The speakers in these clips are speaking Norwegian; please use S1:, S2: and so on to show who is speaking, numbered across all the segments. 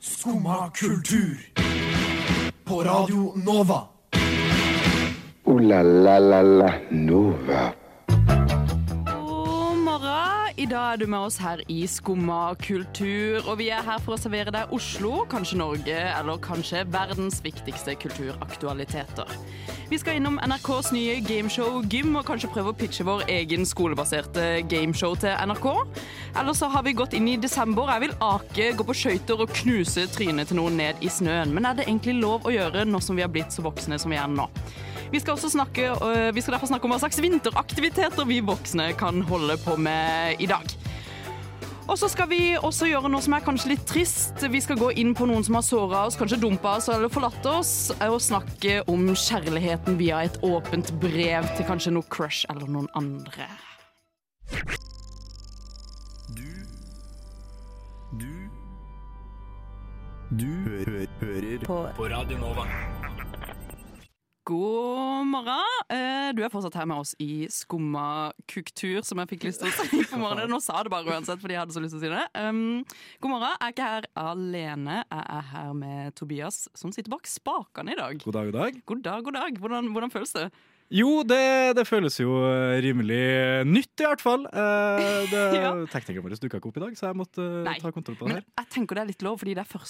S1: Skumma kultur. På Radio Nova.
S2: Ooh la la la la Nova.
S3: God morgen. I dag er du med oss her i Skumma kultur. Og vi er her for å servere deg Oslo, kanskje Norge, eller kanskje verdens viktigste kulturaktualiteter. Vi skal innom NRKs nye gameshow Gym og kanskje prøve å pitche vår egen skolebaserte gameshow til NRK. Eller så har vi gått inn i desember. Jeg vil ake, gå på skøyter og knuse trynet til noen ned i snøen. Men er det egentlig lov å gjøre nå som vi har blitt så voksne som vi er nå? Vi skal, også snakke, øh, vi skal derfor snakke om hva slags vinteraktiviteter vi voksne kan holde på med i dag. Og så skal vi også gjøre noe som er kanskje litt trist. Vi skal gå inn på noen som har såra oss, kanskje dumpa oss eller forlatt oss, og snakke om kjærligheten via et åpent brev til kanskje noe crush eller noen andre. God morgen. Eh, Du er fortsatt her med oss i Skumma kuktur, som jeg fikk lyst til å si på morgenen. Nå sa jeg det bare uansett, fordi jeg hadde så lyst til å si det. Um, god morgen. Jeg er ikke her alene. Jeg er her med Tobias, som sitter bak spakene i dag.
S4: God dag, god dag.
S3: God dag, god dag. Hvordan, hvordan føles det?
S4: Jo, det, det føles jo eh, rimelig nytt, i hvert fall. Eh, det,
S3: Ja.
S4: Teknikeren vår dukka ikke opp i dag, så jeg måtte eh,
S3: Nei,
S4: ta kontroll på det
S3: Men
S4: her.
S3: jeg tenker det er litt lov, fordi det er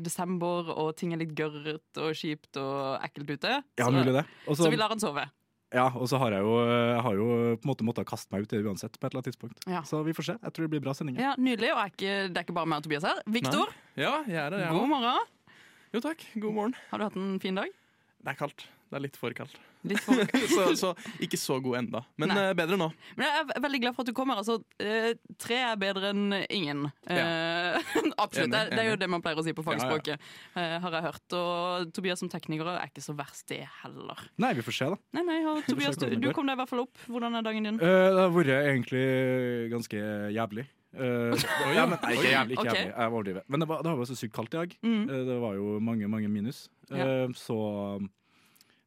S3: 1. desember, og ting er litt gørret og kjipt og ekkelt ute.
S4: Ja,
S3: Så-
S4: mulig det. Og
S3: Så
S4: så
S3: vi lar han sove.
S4: ja, og så har jeg jo, jeg har jo på en måte måttet kaste meg ut i det uansett, på et eller annet tidspunkt.
S3: Ja.
S4: Så vi får se. Jeg tror det blir bra sending.
S3: Ja, Nydelig. Og jeg er ikke, det er ikke bare meg og Tobias her. Viktor,
S5: Ja, jeg er her. jeg
S3: god
S5: også.
S3: morgen.
S5: Jo takk, god morgen.
S3: Har du hatt en fin dag?
S5: Det er kaldt. Det er litt for kaldt.
S3: Litt for
S5: så, så ikke så god enda. Men
S3: Nei.
S5: eh, bedre nå.
S3: Men jeg er ve- veldig glad for at du kommer. Altså, eh, tre er bedre enn ingen. Eh, absolutt.
S5: Enig,
S3: det, er- det er jo
S5: enig.
S3: det man pleier å si på
S5: ja.
S3: fagspråket, eh, har jeg hørt. Og Tobias som tekniker er ikke så verst, det heller.
S4: Nei, vi får se, da.
S3: Nei, nei, og Tobias,
S4: hvordan
S3: du,
S4: det
S3: du
S4: går.
S3: kom deg i hvert fall opp. Hvordan er dagen din?
S4: Eh, det har vært egentlig ganske jævlig. Eh, ja, men, nei, ikke jævlig, ikke
S3: Ok.
S4: jævlig. Jeg overdriver. Men det, var, det har vært så sykt kaldt i dag.
S3: Mm.
S4: Eh, Det var jo mange, mange minus. Eh, Så um,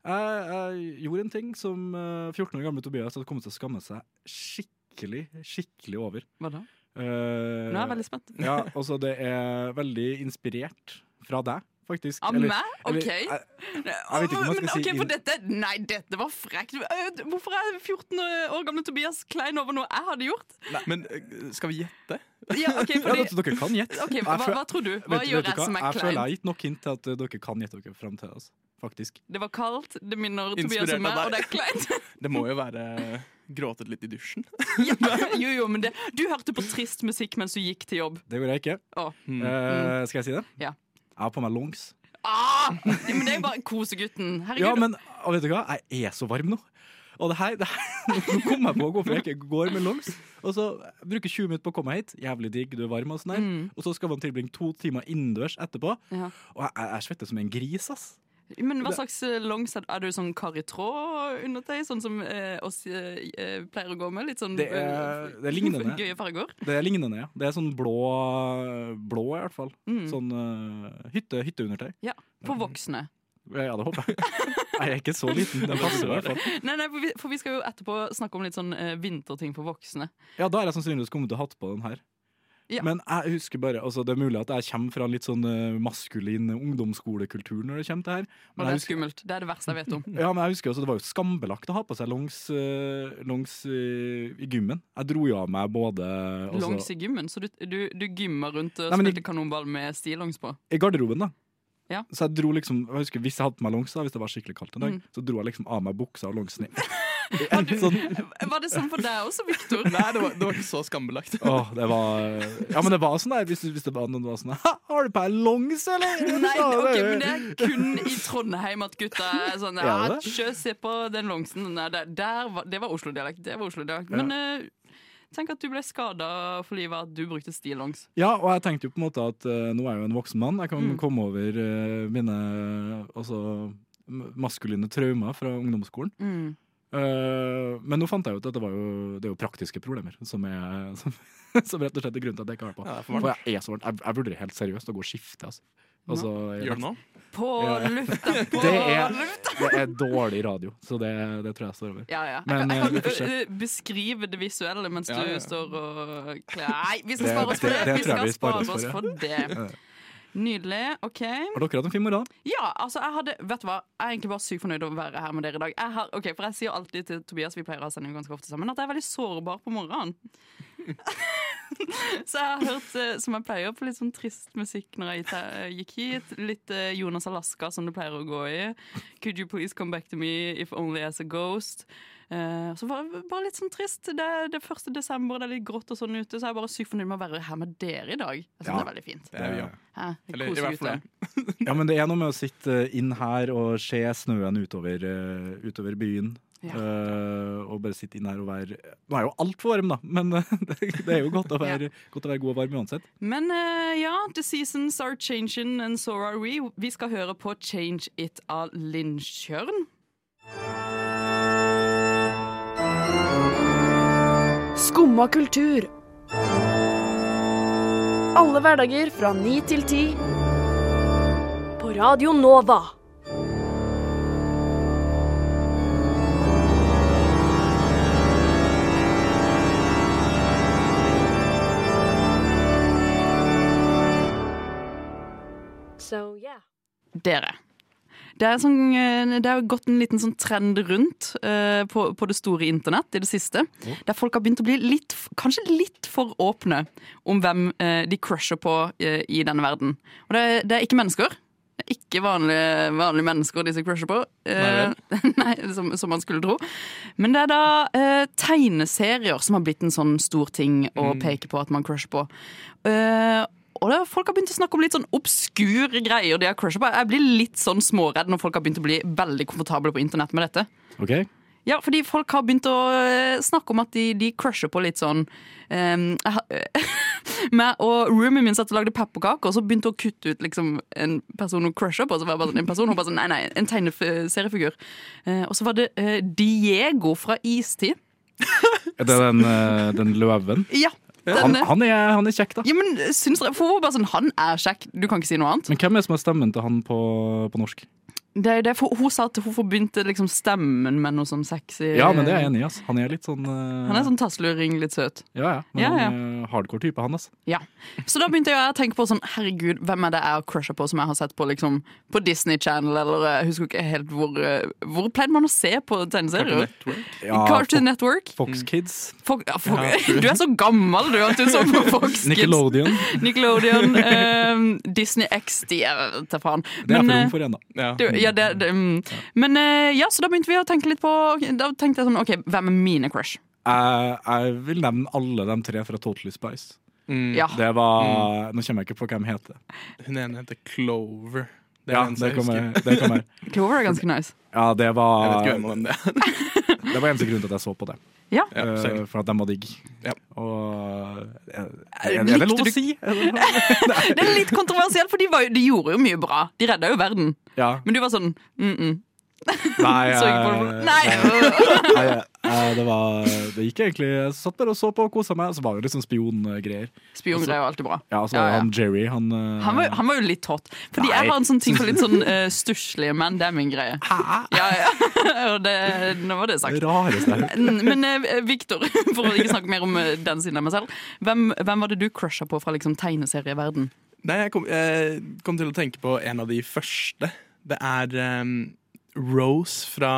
S4: jeg, jeg gjorde en ting som eh, 14 år gamle Tobias hadde kommet til å skamme seg skikkelig, skikkelig over.
S3: Hva da?
S4: Eh,
S3: Nå er jeg veldig spent.
S4: ja, altså det er veldig inspirert fra deg, faktisk.
S3: Av
S4: Eller-
S3: meg?
S4: eller,
S3: OK.
S4: jeg- jeg vet ikke om jeg skal
S3: Men,
S4: si
S3: ok,
S4: inn-
S3: for dette, Nei, dette var frekt. Eh, Hvorfor er 14 år gamle Tobias klein over noe jeg hadde gjort?
S5: Men eh, skal vi gjette?
S3: Ja, ok,
S4: Ja,
S3: fordi,
S4: vet du, dere kan gjette.
S3: ok,
S4: Jeg
S3: hva,
S4: føl-
S3: hva tror du? Hva
S4: vet- vet
S3: gjør
S4: du
S3: jeg
S4: hva?
S3: som er
S4: Jeg føler jeg
S3: klein?
S4: har gitt nok hint til at eh, dere kan gjette dere fram til oss. Faktisk.
S3: Det var kaldt, det minner Tobias om
S5: Inspirert av
S3: meg, og det
S5: deg.
S3: er kleint.
S5: Det må jo være gråtet litt i dusjen.
S3: Ja, jo, jo, men det, du hørte på trist musikk mens du gikk til jobb.
S4: Det gjorde jeg ikke.
S3: Å.
S5: Mm.
S4: Eh, skal jeg si det?
S3: Ja.
S4: Jeg har på meg longs.
S3: Ah, men det er jo bare kosegutten. Herregud.
S4: Ja, men og vet du hva? Jeg er så varm nå. Og det her, det her, nå kom jeg på hvorfor jeg ikke går med longs. Og så bruker 20 minutter på å komme hit. Jævlig digg, du er varm. Og sånn her.
S3: Mm.
S4: Og så skal man tilbringe to timer innendørs etterpå.
S3: Ja.
S4: Og jeg, jeg svetter som en gris, ass.
S3: Men hva slags eh, longs er er du sånn karitråd-undertøy? Sånn som eh, oss eh, eh, pleier å gå med? Litt sånn
S4: Det er,
S3: eh,
S4: det er lignende.
S3: gøye farger?
S4: Det er lignende, ja. Det er sånn blå, blå i hvert fall.
S3: Mm.
S4: Sånn eh, hytte, hytteundertøy.
S3: Ja, For voksne.
S4: Ja, det håper jeg. Jeg er ikke så liten. Den passer i hvert fall.
S3: Nei, nei, for vi, for vi skal jo etterpå snakke om litt sånn eh, vinterting for voksne.
S4: Ja, da er jeg sannsynligvis kommet til å hatt på den her.
S3: Ja.
S4: Men jeg husker bare, altså det er mulig at jeg kommer fra en litt sånn eh, maskulin ungdomsskolekultur når det kommer til her.
S3: Og
S4: Men
S3: det
S4: jeg
S3: er
S4: husker,
S3: skummelt. Det er det verste jeg vet om.
S4: ja, men jeg husker også, det var jo skambelagt å ha på seg longs, eh, longs eh, i gymmen. Jeg dro jo av meg både altså,
S3: Longs i gymmen, så du, du, du gymmer rundt og
S4: Nei, men
S3: spilte kanonball med stillongs på.
S4: i garderoben, da.
S3: Ja.
S4: Så jeg dro liksom, jeg husker Hvis jeg hadde på meg longs, da, hvis det var skikkelig kaldt en dag,
S3: Mm.
S4: så dro jeg liksom av meg buksa og longsen i i
S3: Var,
S4: en
S3: du,
S4: sånn
S3: var det sånn for deg også, Viktor?
S5: Nei, det var, det var ikke så skambelagt.
S4: Åh, det var Ja, men det var sånn der hvis, hvis det var noen som var sånn Ha, har du på deg longs, eller?
S3: Nei,
S4: Ja,
S3: ok,
S4: det-
S3: men det er kun i Trondheim at gutta er sånn ja,
S4: Er det det?
S3: Sjø, se på den longsen. Nei, der, der var, det var Oslo-dialekt. Det var Oslo-dialekt. Men eh, tenk at du ble skada for livet av at du brukte stillongs.
S4: Ja, og jeg tenkte jo på en måte at eh, nå er jeg jo en voksen mann. Jeg kan
S3: Mm.
S4: komme over eh, mine altså, m- maskuline traumer fra ungdomsskolen.
S5: Mm.
S4: Eh, men nå fant jeg jo ut at det, var jo, det er jo praktiske problemer som, er, som, som rett og slett er grunnen til at jeg ikke har det på.
S5: Ja, det er for
S4: for
S5: varmt.
S4: jeg er så varmt. Jeg, jeg vurderer helt seriøst å gå og skifte. Altså. Altså, jeg-
S5: Gjør det nå?
S3: På
S4: Ja.
S3: lufta, på
S4: Det er-
S3: lufta!
S4: det er dårlig radio, så det, det tror jeg står over.
S3: Ja, ja. Jeg
S4: Men,
S3: kan,
S4: eh,
S3: jeg
S4: vi får
S3: kan
S4: se.
S3: eh, beskrive det visuelle mens
S5: Ja, ja, ja.
S3: du står og kler Nei, vi skal
S4: Det-
S3: spare oss for
S4: det-
S3: det!
S4: det
S3: Vi
S4: tror jeg
S3: skal
S4: vi
S3: spare
S4: sparer oss
S3: oss
S4: for,
S3: for det. Nydelig. OK.
S4: Har dere hatt en fin morgen? da?
S3: Ja, altså, jeg hadde Vet du hva, jeg er egentlig bare sykt fornøyd over å være her med dere i dag. Jeg har, ok, For jeg sier alltid til Tobias, vi pleier å ha sending ganske ofte sammen, at jeg er veldig sårbar på morgenen. Så jeg har hørt, eh, som jeg pleier, på litt sånn trist musikk når jeg gikk her- gikk hit. Litt eh, Jonas Alaska, som du pleier å gå i. Could you please come back to me if only as a ghost? Eh, så bare, bare litt sånn trist. Det er det er 1. desember, det er litt grått og sånn ute, så jeg er bare sykt fornøyd med å være her med dere i dag. Jeg synes
S4: Ja.
S3: det er veldig fint.
S5: Det er vi, ja.
S3: Hæ?
S5: Eller i
S3: Kose
S5: hvert fall
S3: gutter.
S5: jeg.
S4: Ja, men det er noe med å sitte inn her og se snøen utover, eh, utover byen.
S3: Ja.
S4: Eh, og bare sitte inn her og være Nå er jeg jo altfor varm, da, men eh, det det er jo godt å være, godt å være god og varm uansett.
S3: Men eh, ja, the seasons are changing and so are we. Vi skal høre på Change It av Lindtjørn.
S6: Skumma kultur. Alle hverdager fra ni til ti. På Radio Nova. So, yeah.
S3: Dere. Det er, sånn, eh, det har gått en liten sånn trend rundt eh, på, på det store internett i det siste. Der folk har begynt å bli litt, f- kanskje litt for åpne om hvem eh, de crusher på eh, i denne verden. Og det, er- det er ikke mennesker. Det er Ikke vanlige, vanlige mennesker disse crusher på. Eh, nei, som, som man skulle tro. Men det er da eh, tegneserier som har blitt en sånn stor ting å peke på at man crusher på. Eh, og da, folk har begynt å snakke om litt sånn obskure greier de har crushet på. Jeg blir litt sånn småredd når folk har begynt å bli veldig komfortable på internett med dette.
S4: Ok?
S3: Ja, fordi folk har begynt å eh, snakke om at de, de crusher på litt sånn ehm, jeg har- meg og roomien min satt og lagde pepperkaker, og så begynte hun å kutte ut liksom, en person hun crusher på. Så var jeg bare sånn, en person, hun bare sånn, nei, nei, en tegneseriefigur. Eh, og så var det eh, Diego fra Istid.
S4: Er det den, eh, den løven?
S3: Ja,
S4: Han,
S3: denne.
S4: han, er, han er kjekk, da.
S3: eh, Ja, men eh, syns dere, for hun var bare sånn, Han er kjekk, du kan ikke si noe annet.
S4: Men hvem er det som har stemmen til han på, på norsk?
S3: Det er jo det, for hun sa at hun forbindte liksom stemmen med noe sånn sexy
S4: Ja, men det er jeg enig i. ass. Han er litt sånn eh,
S3: Han er sånn tasluring, litt søt.
S4: Ja, ja. Men
S3: Ja, ja.
S4: han er hardcore type, han, ass.
S3: Ja. Så da begynte jeg å tenke på sånn, herregud, hvem er det jeg har crusha på som jeg har sett på liksom, på Disney Channel, eller jeg husker ikke helt hvor eh, Hvor pleide man å se på tegneserier? Cartoon Network?
S4: Fox Mm. Kids.
S3: Fo- ja, fo- du er så gammel, du, at du så på Fox Kids.
S4: Nickelodeon.
S3: Nickelodeon. eh, Disney XD, jeg vet da faen.
S4: Det er for
S3: eh,
S4: ung for en, da.
S5: Ja.
S3: Det- ja, det, det, mm. Men eh, ja, så da begynte vi å tenke litt på Da tenkte jeg sånn, ok, hvem er mine crush?
S4: Jeg, jeg vil nevne alle de tre fra Totally Spice.
S5: Mm.
S3: Ja,
S4: Det var Nå kommer jeg ikke på hvem heter.
S5: Hun ene heter Clover. Det er
S4: Ja,
S5: den eneste
S4: det
S5: jeg
S4: kommer,
S5: husker.
S4: det kommer.
S3: Clover er ganske nice
S4: Ja, det
S5: Jeg
S4: var
S5: vet ikke hvem av dem det er.
S4: Det var eneste grunnen til at jeg så på det.
S3: Ja,
S5: Ja,
S4: Eh,
S5: sorry.
S4: for at de var digg.
S5: Ja.
S4: Og eh, er, er er det lov å si?
S3: det er litt kontroversielt For de, var, jo- de gjorde jo mye bra De redda jo verden
S4: Ja.
S3: Men du var sånn, mm-mm
S4: Nei,
S3: Så ikke på
S4: eh,
S3: det Nei,
S4: nei, eh, det var Det gikk egentlig Jeg satt bare og så på og kosa meg, og så var det jo litt sånn spiongreier.
S3: spiongreier er jo alltid bra
S4: Ja, og så
S3: Ja,
S4: var
S3: ja.
S4: han Jerry, han, eh,
S3: han var, han var jo litt hot Fordi
S4: Nei.
S3: jeg har en sånn ting for litt sånn uh, stusslige menn Det er min greie Ja, ja Og det, nå var det sagt
S4: det rareste jeg har hørt.
S3: Men eh, Victor, for å ikke snakke mer om eh, den siden av meg selv Hvem, hvem var det du crushet på fra liksom, tegneserieverden?
S5: Nei, jeg kom, jeg kom til å tenke på en av de første. Det er ehm, Rose fra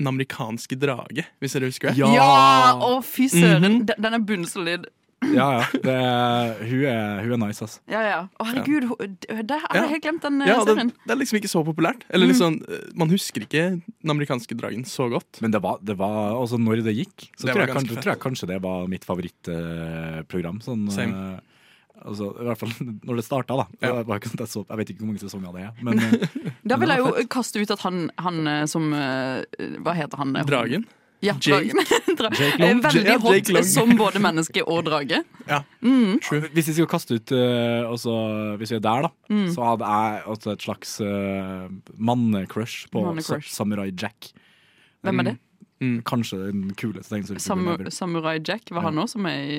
S5: Den amerikanske drage, hvis dere husker det.
S4: Ja. Mhm.
S3: Ja! Å, fy søren! Den- Den er bunnsolid.
S4: Ja, ja. Det, hun, er, hun er nice, altså.
S3: Ja, ja. Å, herregud, ho- d- der har
S5: Ja.
S3: jeg helt glemt den Mm. eh,
S5: Ja, det,
S3: serien.
S5: det er liksom ikke så populært. Eller liksom, eh, Man husker ikke Den amerikanske dragen så godt.
S4: Men det var, det var altså når det gikk, så
S5: Det
S4: tror,
S5: var
S4: jeg
S5: ganske
S4: kanskje,
S5: fett.
S4: tror jeg kanskje det var mitt favorittprogram. Sånn,
S5: Same.
S4: eh, altså, I hvert fall når det starta, da.
S5: Ja.
S4: Det var ikke sånn at Jeg, så, jeg vet ikke hvor mange sesonger det er. Men eh,
S3: Da vil
S4: det
S3: jeg
S4: var
S3: jo kaste ut at han, han eh, som eh, Hva heter han?
S5: Dragen.
S3: Ja,
S5: Jake.
S3: dragen. Dra
S4: Jake Long.
S3: Eh, Veldig
S5: Ja,
S3: hot
S5: Jake Long.
S3: som både menneske og drage.
S4: hvis vi skal kaste ut eh, altså, Hvis vi er der, da,
S5: Mm.
S4: så hadde jeg altså, et slags uh, mannecrush på
S3: Mannecrush.
S4: Sa- Samurai Jack.
S3: Hvem er det?
S4: Kanskje den kuleste tegneseriefiguren
S3: Samu
S4: ever.
S3: Samurai Jack var han òg, som er i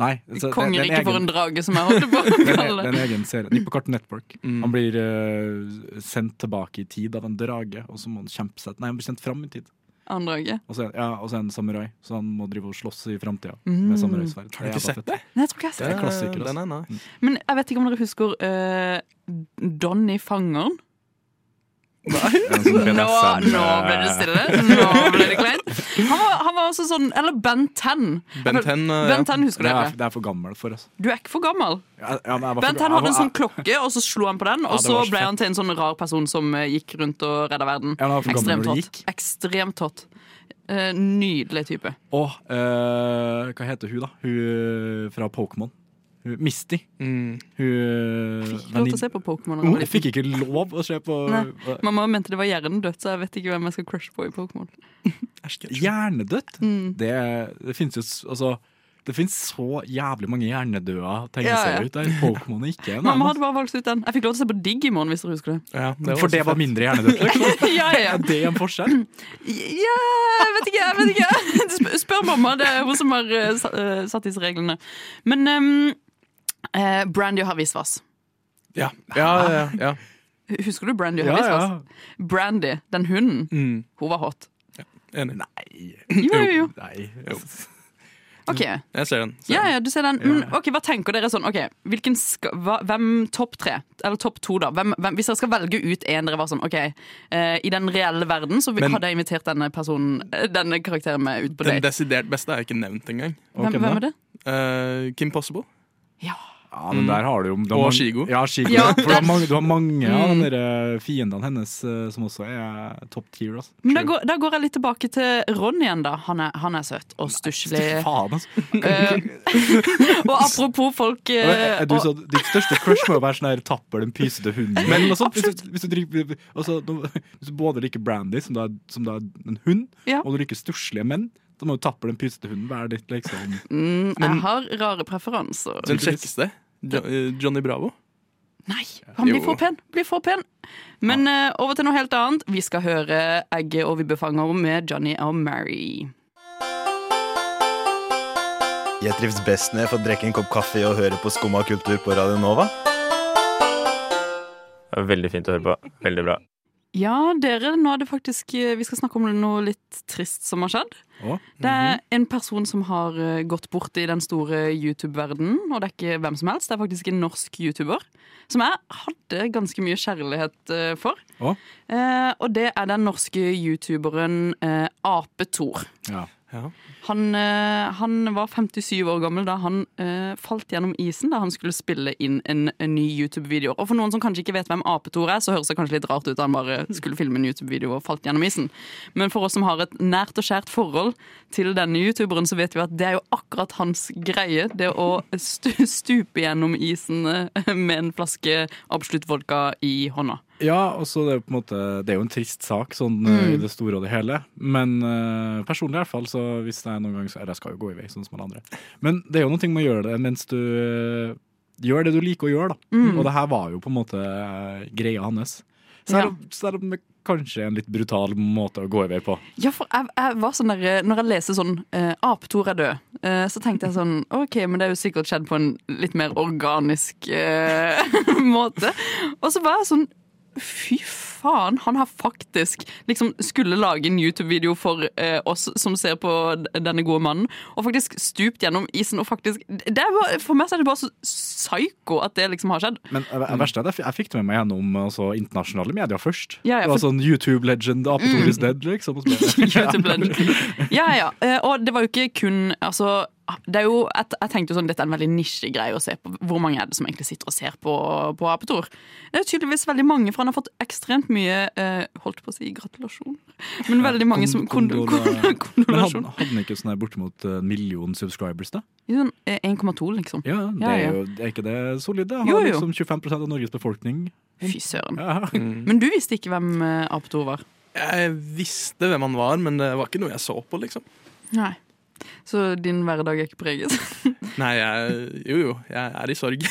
S4: Nei, så det- det er en
S3: kongeriket for
S4: egen-
S3: en drage, som jeg holdt på å
S4: Det er
S3: kalle
S4: det
S3: det.
S4: er en egen serie. Den e- gikk på Cartoon Network. Han blir eh, sendt tilbake i tid av en drage, og så må han kjempe seg Nei, han blir sendt fram i tid.
S3: Han drage.
S4: Og så, er- ja, og så er han samurai, så han må drive og slåss i framtida
S3: Mm.
S4: med samuraisverd.
S5: Har du ikke sett det?
S3: Nei, jeg tror ikke jeg har sett
S4: Det er en klassiker, altså.
S5: Den er nice.
S3: Men jeg vet ikke om dere husker eh, Donny Fangeren.
S5: Nei.
S4: En sånn eh,
S3: Nå,
S4: BDSM,
S3: nå ble det stille. Nå ble det kleint. Han, var- han var også sånn Eller Ben 10.
S5: Mm. Ben eh, 10, ja.
S3: Ben 10 husker du
S4: Det er,
S3: det?
S4: det er for gammel for oss.
S3: Du er ikke for gammel.
S4: Ja, ja, men jeg var for-
S3: Ben 10 hadde en sånn
S4: jeg-
S3: klokke, og så slo han på den, og
S5: det
S3: så
S5: var så
S3: ble
S5: fett.
S3: han til en sånn rar person som eh, gikk rundt og redda verden.
S4: Ja, men han var for gammel
S3: Ekstremt
S4: når det
S3: hot. Ekstremt hot. Eh, Nydelig type.
S4: Og eh, hva heter hun, da? Hun eh, fra Pokémon. Hun- Misty.
S5: Mm.
S4: Hun
S3: Fikk ikke lov til å se på Pokémon. da jeg var
S4: Jeg
S3: liten.
S4: fikk ikke lov å se på
S3: Nei. Mamma mente det var hjernedødt, så jeg vet ikke hvem jeg skal crushe på i Pokémon.
S5: Æsj, ketchup.
S4: Hjernedødt?
S3: Mm.
S4: Det, det finnes jo s- altså, det finnes så jævlig mange hjernedøde
S3: Ja, ja.
S4: tegneserier ut der. Pokémon er ikke en. av
S3: Mamma
S4: dem.
S3: hadde bare valgt ut den. Jeg fikk lov til å se på Digimon, hvis dere husker det.
S5: Ja,
S4: For det
S5: også
S4: var
S5: fett.
S4: mindre hjernedødt. Liksom.
S3: ja, ja, ja.
S4: Er det en forskjell?
S3: Ja, jeg vet ikke, jeg vet ikke. Sp- Spør mamma, det er hun som har eh, sa- eh, satt disse reglene. Men um, eh, Brandy og Harvisvas.
S5: Ja, ja, ja, ja.
S3: Husker du Brandy og
S4: Ja,
S3: Harvisvas?
S4: ja.
S3: Brandy, den hunden,
S5: Mm.
S3: hun var hot.
S5: Enig.
S3: Jo, jo, jo.
S4: Nei.
S3: Ok,
S5: Jeg ser den. Ser
S3: ja,
S5: den.
S3: ja, du ser den. Men, ok, Hva tenker dere sånn? Ok, hvilken ska, hva, Hvem topp tre? Eller topp to, da. Hvem, hvem, hvis dere skal velge ut en dere var sånn OK, eh, i den reelle verden så vi-
S5: Men-
S3: hadde jeg invitert denne personen eh, Denne karakteren med ut på
S5: Den
S3: date.
S5: desidert beste er ikke nevnt engang.
S4: Og
S3: Hvem,
S4: hvem
S3: hvem
S4: da?
S3: er det?
S5: Eh, Kim Possible.
S3: Ja
S4: Ja, men der har du jo du har
S5: Og
S4: mange-
S5: Shigo.
S4: Ja, Shigo.
S3: Ja. Mm.
S4: For du har mange, du har mange av de der fiendene hennes eh, som også er top tier. Altså.
S3: Men da går, da går jeg litt tilbake til Ron igjen, da. Han er, han er søt og stusslig.
S4: Faen, altså.
S3: Eh, og apropos folk eh,
S4: Er du sånn-
S3: og-
S4: så, ditt største crush må jo være sånn her tapper den pysete hunden. Men også, hvis, du, hvis, du drikker, altså, nå- hvis du både liker brandy, som da er, som da er en hund,
S3: Ja.
S4: og du liker stusslige menn, da må jo tapper den pysete hunden være ditt, liksom.
S3: mm, Jeg har rare preferanser.
S5: Den kjekkeste. Jo eh, Johnny Bravo.
S3: Nei, han blir
S5: Jo.
S3: for pen! Blir for pen. Men eh, over til noe helt annet. Vi skal høre 'Egget og vibbefanger' med Johnny og Mary.
S7: Jeg trives best når jeg får drikke en kopp kaffe og høre på Skumma kultur på Radio Nova.
S8: Veldig fint å høre på. Veldig bra.
S3: Ja, dere, nå er det faktisk eh, Vi skal snakke om noe litt trist som har skjedd.
S4: Å? mhm.
S3: Det er en person som har eh, gått bort i den store YouTube-verdenen, og det er ikke hvem som helst. Det er faktisk en norsk YouTuber som jeg hadde ganske mye kjærlighet eh, for.
S4: Å?
S3: Eh, og det er den norske youtuberen eh, Apetor.
S4: Ja.
S5: Ja.
S3: Han, eh, han var 57 år gammel da han eh, falt gjennom isen da han skulle spille inn en, en ny YouTube-video. Og for noen som kanskje ikke vet hvem Apetor er, så høres det kanskje litt rart ut at han bare skulle filme en YouTube-video og falt gjennom isen. Men for oss som har et nært og kjært forhold til denne youtuberen, så vet vi at det er jo akkurat hans greie. Det å stu stupe gjennom isen eh, med en flaske absolutt vodka i hånda.
S4: ja, og så det er jo på en måte Det er jo en trist sak, sånn eh,
S3: Mm.
S4: i det store og det hele. Men eh, personlig i hvert fall, så hvis det er noen gang så Eller jeg skal jo gå i vei, sånn som alle andre. Men det er jo noe med å gjøre det mens du eh, gjør det du liker å gjøre, da.
S3: Mm.
S4: Og det her var jo på en måte eh, greia hans. Selv, om- selv om det kanskje er en litt brutal måte å gå i vei på.
S3: Ja, for jeg, jeg var sånn der, eh, Når jeg leser sånn eh, 'Aptor er død', eh, så tenkte jeg sånn OK, men det er jo sikkert skjedd på en litt mer organisk eh, måte. Og så var jeg sånn Fy faen, han har faktisk liksom skulle lage en YouTube-video for eh, oss som ser på d- denne gode mannen, og faktisk stupt gjennom isen og faktisk det er bare, For meg så er det bare så psyko at det liksom har skjedd.
S4: Men eh, det verste er at jeg f- jeg fikk det med meg gjennom altså, internasjonale medier først.
S3: Ja, ja,
S4: det var
S3: for- Mm.
S4: sånn YouTube-legend, Apetor is dead, liksom. Og så ble det-
S3: Ja, ja. Eh, Og det var jo ikke kun altså, det er jo, jeg, jeg tenkte jo sånn, Dette er en veldig nisjegreie å se på. Hvor mange er det som egentlig sitter og ser på, på Apetor? Det er jo tydeligvis veldig mange, for han har fått ekstremt mye eh, Holdt på å si gratulasjon, men veldig mange som
S4: Kon-
S3: kondo- kon-
S4: kondola- Men hadde,
S3: Kondolasjon.
S4: hadde den ikke sånn her bortimot en million subscribers, da?
S3: Sånn, eh, 1,2, liksom.
S4: Ja, det
S3: Ja, ja.
S4: er jo er ikke det solid, det? Har
S3: Jo, jo.
S4: liksom 25 av Norges befolkning.
S3: Fy søren.
S4: Ja.
S3: Men du visste ikke hvem eh, Apetor var?
S5: Jeg visste hvem han var, men det var ikke noe jeg så på, liksom.
S3: Nei. Så din hverdag er ikke preget?
S5: Nei, jeg, jo jo, jeg er i sorg.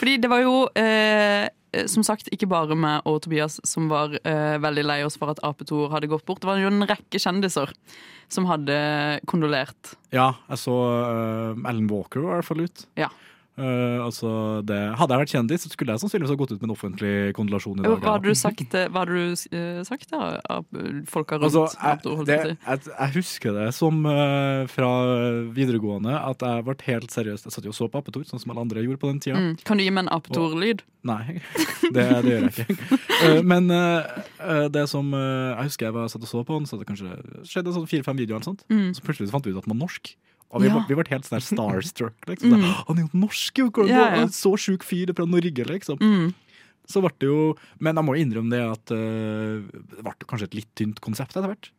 S3: Fordi det var jo eh, som sagt ikke bare meg og Tobias som var eh, veldig lei oss for at Apetor hadde gått bort. Det var jo en rekke kjendiser som hadde kondolert.
S4: ja, jeg så eh, Ellen Walker var i hvert fall ut.
S3: Ja.
S4: Eh, altså det, hadde jeg vært kjendis, så skulle jeg sannsynligvis ha gått ut med en offentlig kondolasjon i dag.
S3: Hva
S4: ja.
S3: hadde du sagt, eh, hva hadde du eh, sagt da, av eh, folka rundt?
S4: Altså,
S3: Arthur,
S4: jeg,
S3: holdt
S4: det,
S3: jeg på å si?
S4: jeg, jeg husker det som eh, fra videregående at jeg ble helt seriøst Jeg satt jo og så på Appetor, sånn som alle andre gjorde på den tida.
S3: mm. Kan du gi meg en aptor-lyd?
S4: Nei, det, det gjør jeg ikke. Eh, Men eh, eh, det som eh, jeg husker jeg var satt og så på den, så det kanskje skjedde sånn fire-fem videoer, eller sånt,
S3: Mm.
S4: så plutselig så fant vi ut at man var norsk. Og vi,
S3: Ja. Mm.
S4: var, vi ble helt sånn der starstruck. Liksom. Så, Han er jo norsk! Jo, hvordan-
S3: Ja, ja.
S4: en Så sjuk fyr fra Norge, liksom.
S3: Mm.
S4: Så ble det jo Men jeg må jo innrømme det at eh, det ble jo kanskje et litt tynt konsept etter hvert.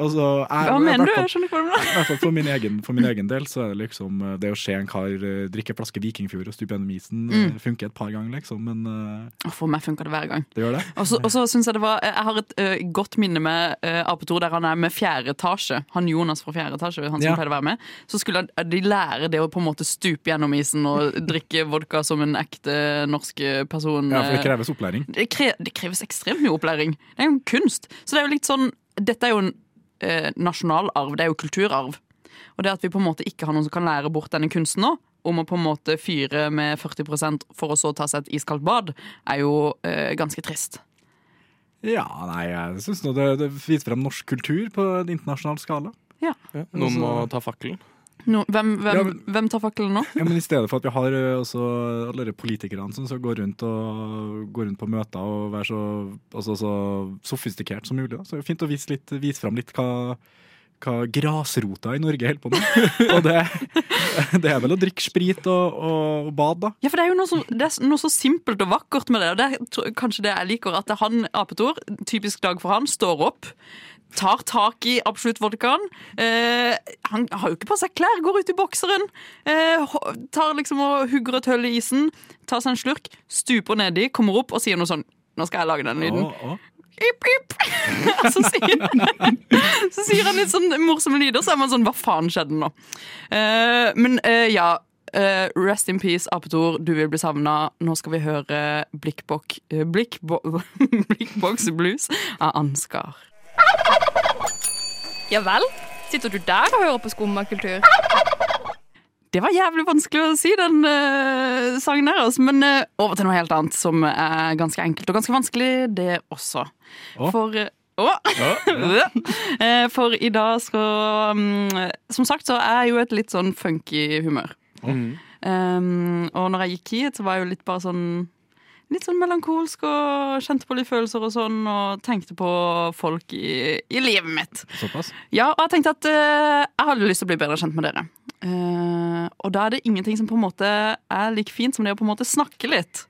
S4: Altså, jeg,
S3: Hva
S4: i hvert
S3: mener du?
S4: fall-
S3: Jeg skjønner ikke hva du mener.
S4: i hvert fall for min, egen, for min egen del så er det liksom eh, Det å se en kar eh, drikke en flaske Vikingfjord og stupe gjennom isen eh,
S3: Mm.
S4: funker et par ganger, liksom, men eh,
S3: Å, For meg funker det hver gang.
S4: det gjør det.
S3: Og så og så syns jeg det var Jeg har et eh, godt minne med uh, Apetor der han er med fjerde etasje. Han Jonas fra fjerde etasje, han som
S4: Ja.
S3: pleide å være med. Så skulle han- eh, de lære det å på en måte stupe gjennom isen og drikke vodka som en ekte norsk eh, person.
S4: Ja, for det
S3: eh,
S4: kreves opplæring.
S3: det, kre det kreves ekstremt mye opplæring. Det er jo en kunst. Så det er jo litt sånn Dette er jo en eh, nasjonalarv. Det er jo kulturarv. Og det at vi på en måte ikke har noen som kan lære bort denne kunsten nå, om å på en måte fyre med 40 for å så ta seg et iskaldt bad, er jo eh, ganske trist.
S4: Ja, nei, jeg syns nå det, det viser frem norsk kultur på en internasjonal skala.
S5: Ja, altså- noen må ta fakkelen.
S3: No, hvem, hvem,
S4: Ja, men-
S3: hvem tar fakkelen nå?
S4: Ja, men I stedet for at vi har eh, også alle de politikerne som så går rundt, og, går rundt på møter og være så, altså, så sofistikert som mulig, da. så er det fint å vise, litt, vise frem litt hva, hva grasrota i Norge holder på med. og det, det er vel å drikke sprit og, og, og bade, da.
S3: Ja, for Det er jo noe så, det er noe så simpelt og vakkert med det. og det er, tro- Kanskje det jeg liker at det er han, Apetor, typisk dag for han, står opp, tar tak i absolutt vodkaen. Eh, han har jo ikke på seg klær, går ut i bokseren. Eh, ho- tar liksom og hugger et hull i isen, tar seg en slurk, stuper nedi, kommer opp og sier noe sånn Nå skal jeg lage den lyden.
S4: Og, og.
S3: Ip, ip. så, sier, så sier han litt sånn morsomme lyder, så er man sånn Hva faen skjedde nå? Eh, men eh, ja. eh, rest in peace, Apetor. Du vil bli savna. Nå skal vi høre Blikkbok, eh, Blikkbo Blikkboks Blues av Ansgar.
S9: Ja vel? Sitter du der og hører på skummakultur?
S3: Det var jævlig vanskelig å si, den eh, sangen der. Altså. Men eh, over til noe helt annet som er ganske enkelt og ganske vanskelig, det også.
S4: Å.
S3: For eh, å. Eh, For i dag skal mm, Som sagt så er jeg jo et litt sånn funky humør.
S4: Mm.
S3: Um, og når jeg gikk hit, så var jeg jo litt bare sånn Litt sånn melankolsk og kjente på litt følelser og sånn, og tenkte på folk i, i livet mitt.
S4: Såpass.
S3: Ja, og jeg tenkte at eh, jeg hadde lyst til å bli bedre kjent med dere. Eh, og da er det ingenting som på en måte er like fint som det å på en måte snakke litt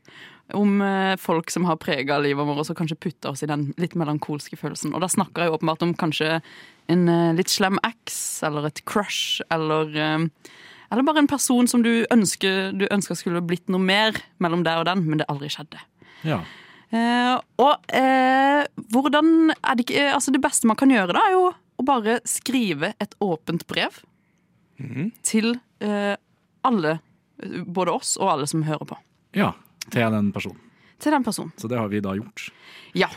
S3: om eh, folk som har prega livet vårt, og så kanskje putte oss i den litt melankolske følelsen. Og da snakker jeg jo åpenbart om kanskje en eh, litt slem ex, eller et crush, eller eh, eller bare en person som du ønsker, du ønsker skulle blitt noe mer mellom deg og den, men det aldri skjedde.
S4: Ja.
S3: Eh, og eh, hvordan er det ikke eh, Altså, det beste man kan gjøre, da, er jo å bare skrive et åpent brev til eh, alle, eh, både oss og alle som hører på.
S4: ja. Til den personen.
S3: Til den personen.
S4: Så det har vi da gjort.
S3: Ja.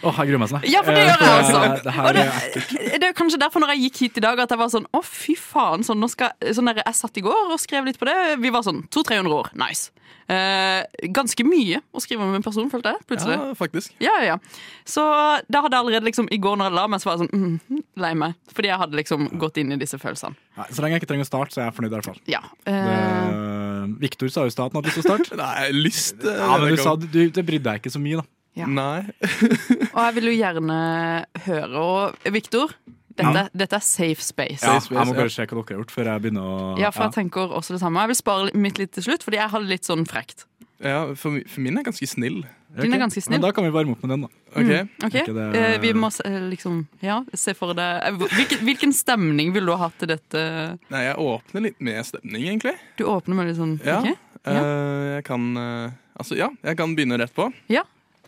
S4: Åh, jeg gruer meg sånn.
S3: Ja, for det gjør jeg også.
S4: Det
S3: Og
S4: her
S3: det,
S4: er
S3: det er kanskje derfor når jeg gikk hit i dag at jeg var sånn Å, fy faen. Sånn, nå skal, sånn der, jeg satt i går og skrev litt på det. Vi var sånn 200-300 år. Nice. Eh, ganske mye å skrive om en person, følte jeg. Plutselig.
S5: Ja, faktisk.
S3: Ja, ja, ja. Så da hadde jeg allerede liksom I går når jeg la meg, så var jeg sånn mm, lei meg. Fordi jeg hadde liksom gått inn i disse følelsene.
S4: Nei, Så lenge jeg ikke trenger å starte, så er jeg fornøyd i hvert fall.
S3: Ja. eh,
S4: Det- Victor sa jo i stad at han hadde lyst til å starte.
S5: Nei, lyst eh,
S4: Ja, men
S5: det
S4: du sa
S5: kan-
S4: du, du- det brydde deg ikke så mye, da.
S3: Ja.
S5: Nei.
S3: og jeg vil jo gjerne høre Og Viktor, dette, dette er safe space.
S4: Ja,
S5: Ja,
S4: jeg må bare se hva dere har gjort før jeg begynner å
S3: Ja, for jeg tenker også det samme. Jeg vil spare mitt litt til slutt, fordi jeg har det litt sånn frekt.
S5: Ja, for, mi- for min er ganske snill.
S4: Ja,
S3: Din er
S4: ok.
S3: ganske snill.
S4: Men da kan vi varme opp med den, da.
S5: Ok?
S3: Ok,
S4: Ikke det-
S3: eh, Vi må se, eh, liksom Ja, se for deg eh, hvilken, hvilken stemning vil du ha til dette?
S5: Nei, jeg åpner litt med stemning, egentlig.
S3: Du åpner med litt sånn
S5: Ja.
S3: ok?
S5: Eh, jeg kan eh, Altså, ja, jeg kan begynne rett på.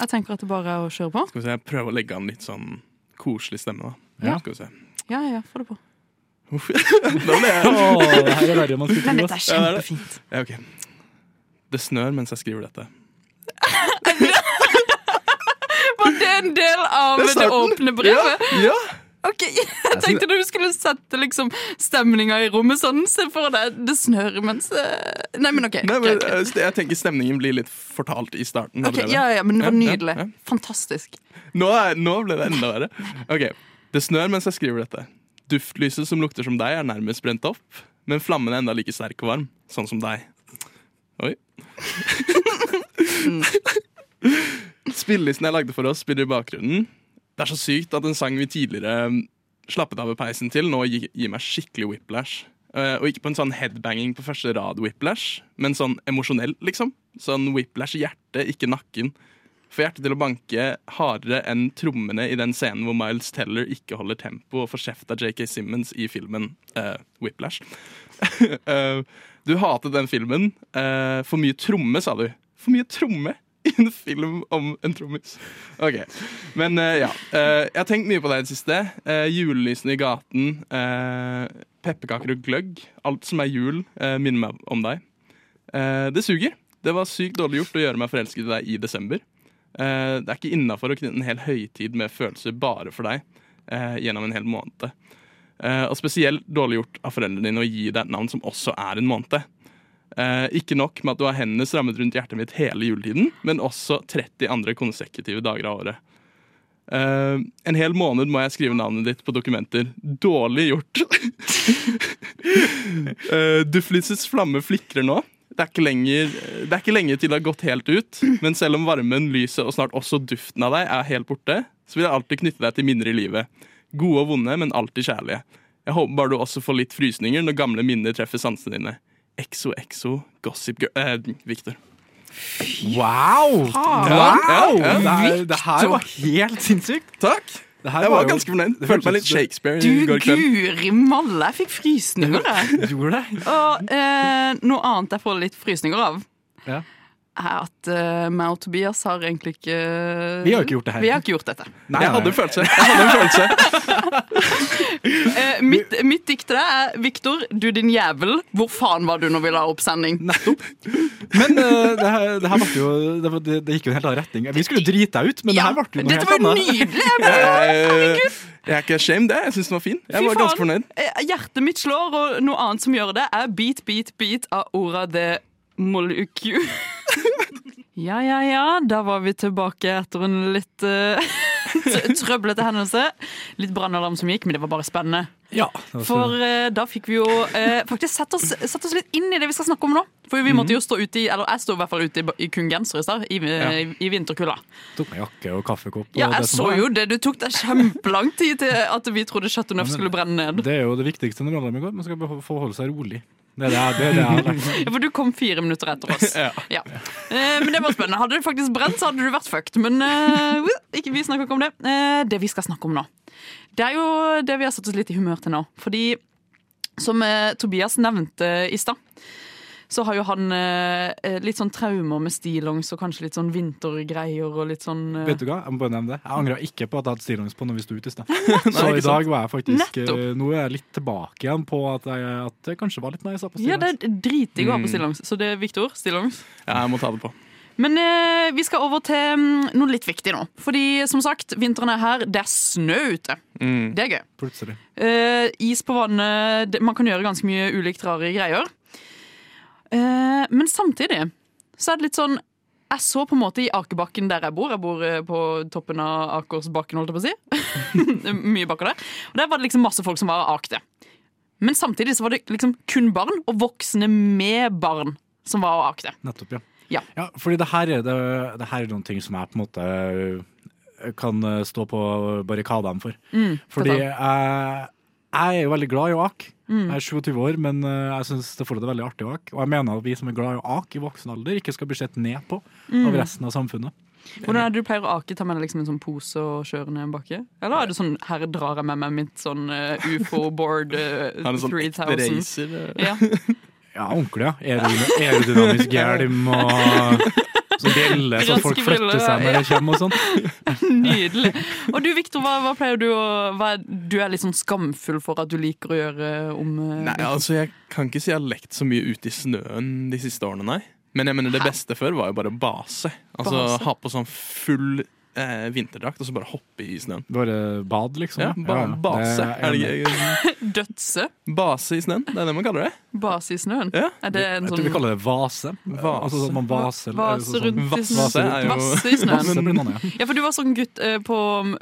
S3: Jeg tenker at det bare er å kjøre på.
S5: Skal vi se, jeg prøver å legge an litt sånn koselig stemme, da.
S3: Ja.
S5: Skal vi se.
S3: Ja, ja, få det på.
S5: Uff, Nå ble jeg
S4: Åh, det her er verre enn man skulle
S3: Men
S4: tro.
S3: dette
S4: ass.
S3: er kjempefint.
S5: ja, ok. Det snør mens jeg skriver dette.
S3: Var det en del av det,
S5: starten.
S3: åpne brevet?
S5: Ja!
S3: Ok, Jeg tenkte du skulle sette liksom stemninga i rommet sånn. Se for deg det snør mens eh, Nei, men ok.
S5: Nei, men,
S3: greit, greit.
S5: eh, jeg tenker stemningen blir litt fortalt i starten.
S3: Ok,
S5: allerede.
S3: ja, ja, men det var
S5: Ja, ja,
S3: nydelig.
S5: ja.
S3: Fantastisk.
S5: Nå, er, nå ble det enda verre. Ok, Det snør mens jeg skriver dette. Duftlyset som lukter som deg, er nærmest brent opp, men flammen er enda like sterk og varm, sånn som deg. Oi. Spillelisten jeg lagde for oss, spiller i bakgrunnen. Det er så sykt at en sang vi tidligere mm, slappet av ved peisen til, nå gir, gir meg skikkelig whiplash. Eh, og ikke på en sånn headbanging på første rad-whiplash, men sånn emosjonell, liksom. Sånn whiplash i hjertet, ikke nakken får hjertet til å banke hardere enn trommene i den scenen hvor Miles Teller ikke holder tempo og får kjeft av J.K. Simmons i filmen eh, Whiplash. Eh, du hatet den filmen. Eh, for mye tromme, sa du. For mye tromme i en film om en trommis. Ok, Men eh, ja. Eh, jeg har tenkt mye på det i det siste. Eh, julelysene i gaten, eh, pepperkaker og gløgg. Alt som er jul, eh, minner meg om deg. Eh, det suger. Det var sykt dårlig gjort å gjøre meg forelsket i deg i desember. Eh, det er ikke innafor å knytte en hel høytid med følelser bare for deg eh, gjennom en hel måned. Eh, og spesielt dårlig gjort av foreldrene dine å gi deg et navn som også er en måned. Eh, ikke nok med at du har hendene strammet rundt hjertet mitt hele juletiden, men også 30 andre konsekutive dager av året. Eh, en hel måned må jeg skrive navnet ditt på dokumenter. Dårlig gjort. uh, Dufflysets flamme flikrer nå. Det er, ikke lenger, det er ikke lenge til det har gått helt ut, men selv om varmen, lyset og snart også duften av deg er helt borte, så vil jeg alltid knytte deg til minner i livet. Gode og vonde, men alltid kjærlige. Jeg håper bare du også får litt frysninger når gamle minner treffer sansene dine. Exo, exo, gossip girl eh, Victor.
S4: Wow!
S5: Wow!
S4: Det, er- det her var helt sinnssykt.
S5: Takk!
S4: Det her
S5: Jeg var
S4: jo-
S5: ganske fornøyd.
S4: det
S5: Følte meg
S4: hørtes
S5: litt
S4: ut som-
S5: Shakespeare i
S3: Du
S5: går kveld.
S3: guri malla, jeg fikk frysninger. jeg.
S4: Gjorde det?
S3: Og eh, noe annet jeg får litt frysninger av,
S4: Ja.
S3: er at eh, meg og Tobias har egentlig ikke
S4: Vi har jo ikke gjort det her.
S3: Vi har ikke gjort dette.
S4: Nei,
S5: Jeg
S4: nei.
S5: hadde en følelse. Jeg hadde en følelse.
S3: Eh, mitt, mitt dikt til deg er Viktor, du din jævel, hvor faen var du når vi la opp sending?
S4: Nettopp. Men eh, det her, det her ble jo det, var- det, det gikk jo i en helt annen retning. Vi skulle drite deg ut, men det her ble jo noe
S3: Dette
S4: helt
S3: var jo
S4: annet.
S3: nydelig! Jeg ble
S5: Jeg, Eh, jeg er ikke ashamed, jeg. Jeg syns den var fin.
S3: Fy
S5: Jeg var
S3: faen.
S5: ganske fornøyd.
S3: Eh, Hjertet mitt slår, og noe annet som gjør det, er Beat, Beat, Beat av Ora de Moluku. ja, ja, ja, da var vi tilbake etter en litt eh, tr- trøblete hendelse. Litt brannalarm som gikk, men det var bare spennende.
S4: Ja, det var så-
S3: For eh, da fikk vi jo eh, faktisk sett oss, sett oss litt inn i det vi skal snakke om nå. For vi
S4: Mhm.
S3: måtte jo stå ute i, eller jeg sto i hvert fall ute i, ba- i kun genser i stad, i, i, i vinterkulda.
S4: tok med jakke og kaffekopp. og
S3: Ja,
S4: det
S3: jeg
S4: som
S3: så
S4: var.
S3: jo det. Det tok deg kjempelang tid til at vi trodde Chateau Neuf skulle brenne ned.
S4: Det er jo det viktigste når brannalarmen går. Man skal beho- få holde seg rolig. Det er det, jeg- det, er det jeg har lært.
S3: Ja, for du kom fire minutter etter oss.
S5: Ja.
S3: Ja. Eh, men det var spennende. Hadde det faktisk brent, så hadde du vært fucked. Men eh, ikke, vi snakker ikke om det. Eh, det vi skal snakke om nå, det er jo det vi har satt oss litt i humør til nå. Fordi som eh, Tobias nevnte i stad, så har jo han eh, eh, litt sånn traumer med stillongs og kanskje litt sånn vintergreier og litt sånn eh,
S4: Vet du hva, jeg må bare nevne det. Jeg angra ikke på at jeg hadde stillongs på når vi sto ute i sted.
S5: Nei,
S4: Så i
S5: ikke sant.
S4: dag var jeg faktisk eh,
S3: Nettopp.
S4: Nå er jeg litt tilbake igjen på at, jeg, at det kanskje var litt nice. å ha på
S3: Ja,
S4: stillongs. Mm.
S3: det er dritdigg å ha på stillongs. Så det er Viktor, stillongs.
S5: Ja, jeg må ta det på.
S3: Men eh, vi skal over til mm, noe litt viktig nå. Fordi som sagt, vinteren er her. Det er snø ute. Det er gøy.
S4: Plutselig.
S3: Eh, is på vannet det- Man kan gjøre ganske mye ulikt rare greier. Eh, men samtidig så er det litt sånn Jeg så på en måte i akebakken der jeg bor. Jeg bor eh, på toppen av Akersbakken, holdt jeg på å si. mye bakker der. Og der var det liksom masse folk som var akte. Men samtidig så var det liksom kun barn, og voksne med barn, som var og akte.
S4: Nettopp, ja.
S3: Ja.
S4: fordi det her, er det, det her er noen ting som jeg på en måte øh, kan øh, stå på barrikadene for. fordi
S3: fortell.
S4: jeg, jeg er jo veldig glad i å ake.
S3: Mm.
S4: Jeg er 27 år, men øh, jeg syns det fortsatt er veldig artig å ake. Og jeg mener at vi som er glad i å ake i voksen alder, ikke skal bli sett ned på
S3: Mm.
S4: av resten av samfunnet.
S3: Hvordan er det du pleier å ake? Ta med deg liksom en sånn pose og kjøre ned en bakke? Eller er det sånn her drar jeg med meg mitt sånn ufo-board eh,
S5: Har en sånn ekte
S3: 3000?
S5: racer. eh.
S3: Ja.
S4: Ja, ordentlig, ja. Aerodyn- Aerodynamisk hjelm og sånn briller så folk
S3: Raske briller,
S4: flytter seg når de kommer og sånn.
S3: Nydelig. Og du Viktor, hva, hva pleier du å hva, er- Du er litt sånn skamfull for at du liker å gjøre om eh,
S5: Nei, altså Jeg kan ikke si jeg har lekt så mye ute i snøen de siste årene, nei. Men jeg mener det beste før var jo bare base. Altså
S3: Base?
S5: Ha på sånn full eh, vinterdrakt og så bare hoppe i snøen.
S4: Bare bad, liksom?
S5: Ja, ba base. Er det ikke
S3: Dødse.
S5: Base i snøen? Det er det man kaller det?
S3: Base i snøen.
S5: Ja.
S3: Er det en
S4: Jeg tror vi
S3: sånn
S4: kaller det vase.
S5: Vase.
S4: Altså sånn at man vaser.
S3: Vase
S4: eller
S3: rundt i
S5: Vasse
S3: snøen.
S5: er jo-
S3: Vasse i
S4: Vase
S3: snøen.
S4: blir man, ja.
S3: Ja, for du var sånn gutt eh, på,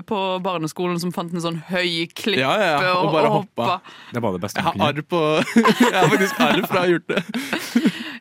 S3: på barneskolen som fant en sånn høy klippe
S5: Ja, ja, ja. Og bare hoppa.
S4: Det var det beste
S5: Jeg
S4: man
S5: har
S4: kunne gjøre.
S5: arr på Jeg har faktisk arr fra å ha gjort det.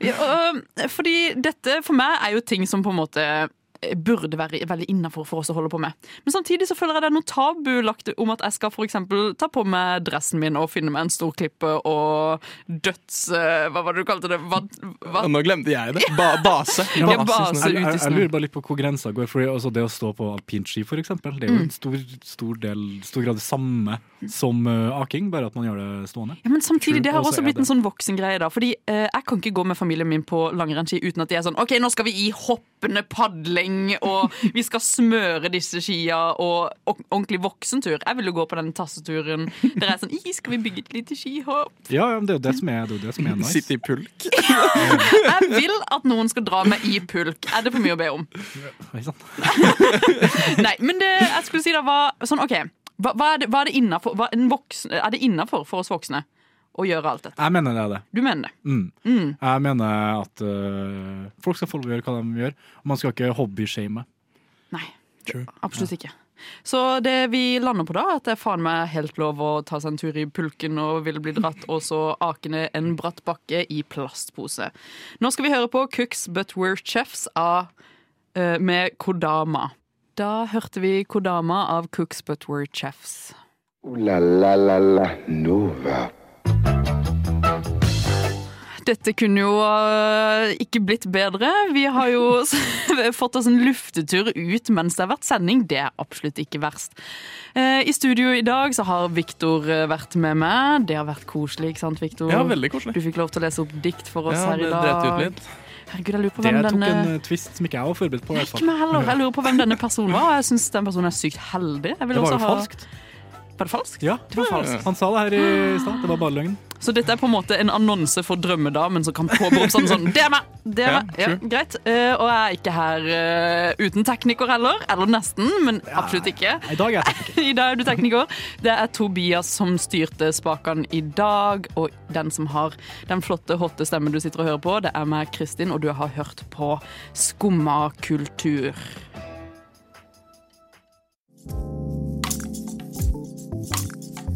S3: Ja, og, eh, fordi dette for meg er jo ting som på en måte eh, burde være veldig innafor for oss å holde på med. Men samtidig så føler jeg det er noe tabulagt om at jeg skal for eksempel ta på meg dressen min og finne meg en stor klippe og døds... eh, Hva var det du kalte det? Hva, hva?
S5: Og nå glemte jeg det. Ba base.
S3: Ja,
S5: Base i
S3: base.
S5: snøen.
S4: Jeg, jeg, jeg
S3: snøen.
S4: lurer bare litt på hvor grensa går. Fordi også det å stå på alpinski, for eksempel, det er
S3: Mm.
S4: jo en stor, stor, del, stor grad det samme som eh, aking, bare at man gjør det stående.
S3: Ja, men samtidig,
S4: True,
S3: Det har
S4: og så
S3: også
S4: er
S3: blitt
S4: det-
S3: en sånn voksengreie. da Fordi eh, Jeg kan ikke gå med familien min på langrennsski uten at de er sånn OK, nå skal vi i hoppende padling, og vi skal smøre disse skia, og og- ordentlig voksentur. Jeg vil jo gå på den tasseturen der jeg er sånn I, skal vi bygge et lite skihopp?
S4: Ja, ja, men det er jo det som er, det er, jo det som er nice.
S5: Sitte i pulk.
S3: Jeg vil at noen skal dra meg i pulk. Er det for mye å be om?
S4: Ikke sant?
S3: Nei, men det jeg skulle si da var sånn OK. Hva, hva er det, hva er det innafor hva- en voksen- Er det innafor for oss voksne å gjøre alt dette?
S4: Jeg mener det er det.
S3: Du mener det?
S4: Mm. Jeg mener at eh, folk skal få lov å gjøre hva de gjør. Og man skal ikke hobbyshame.
S3: Nei. Absolutt ikke. Så det vi lander på da, er at det er faen meg helt lov å ta seg en tur i pulken og ville bli dratt, og så ake ned en bratt bakke i plastpose. Nå skal vi høre på Cooks But We're Chefs av, eh, med Kodama. Da hørte vi Kodama av Cooks But We're Chefs.
S2: Ooh la la la la Nova.
S3: Dette kunne jo øh, ikke blitt bedre. Vi har jo s- fått oss en luftetur ut mens det har vært sending. Det er absolutt ikke verst. Eh, I studio i dag så har Viktor eh, vært med meg. Det har vært koselig, ikke sant, Viktor?
S5: Ja, veldig
S3: Du
S5: koselig.
S3: fikk lov til å lese opp dikt for oss
S5: Ja,
S3: her i
S5: det
S3: dag.
S5: dreit ut litt.
S3: Herregud, jeg lurer på
S4: Det
S3: hvem
S4: tok
S3: denne...
S4: en eh, twist som ikke jeg var forberedt på. i hvert
S3: Ikke
S4: fall.
S3: meg heller. Jeg lurer på hvem denne personen var. Jeg syns den personen er sykt heldig. Jeg vil
S4: Det var
S3: også
S4: jo
S3: ha-
S4: falskt.
S3: Var det falskt?
S4: Ja,
S3: Det var falskt.
S4: Han sa det her i stad. Det var bare løgn.
S3: Så dette er på en måte en annonse for drømmedamen som kan påberope seg en sånn Det er meg! Det er
S5: Ja,
S3: meg. Ja, greit. Eh, og jeg er ikke her eh, uten tekniker heller. Eller nesten, men absolutt ikke.
S4: I dag er jeg tekniker.
S3: I dag er du tekniker. Det er Tobias som styrte spakene i dag. Og den som har den flotte, hotte stemmen du sitter og hører på, det er meg, Kristin, og du har hørt på Skumma kultur.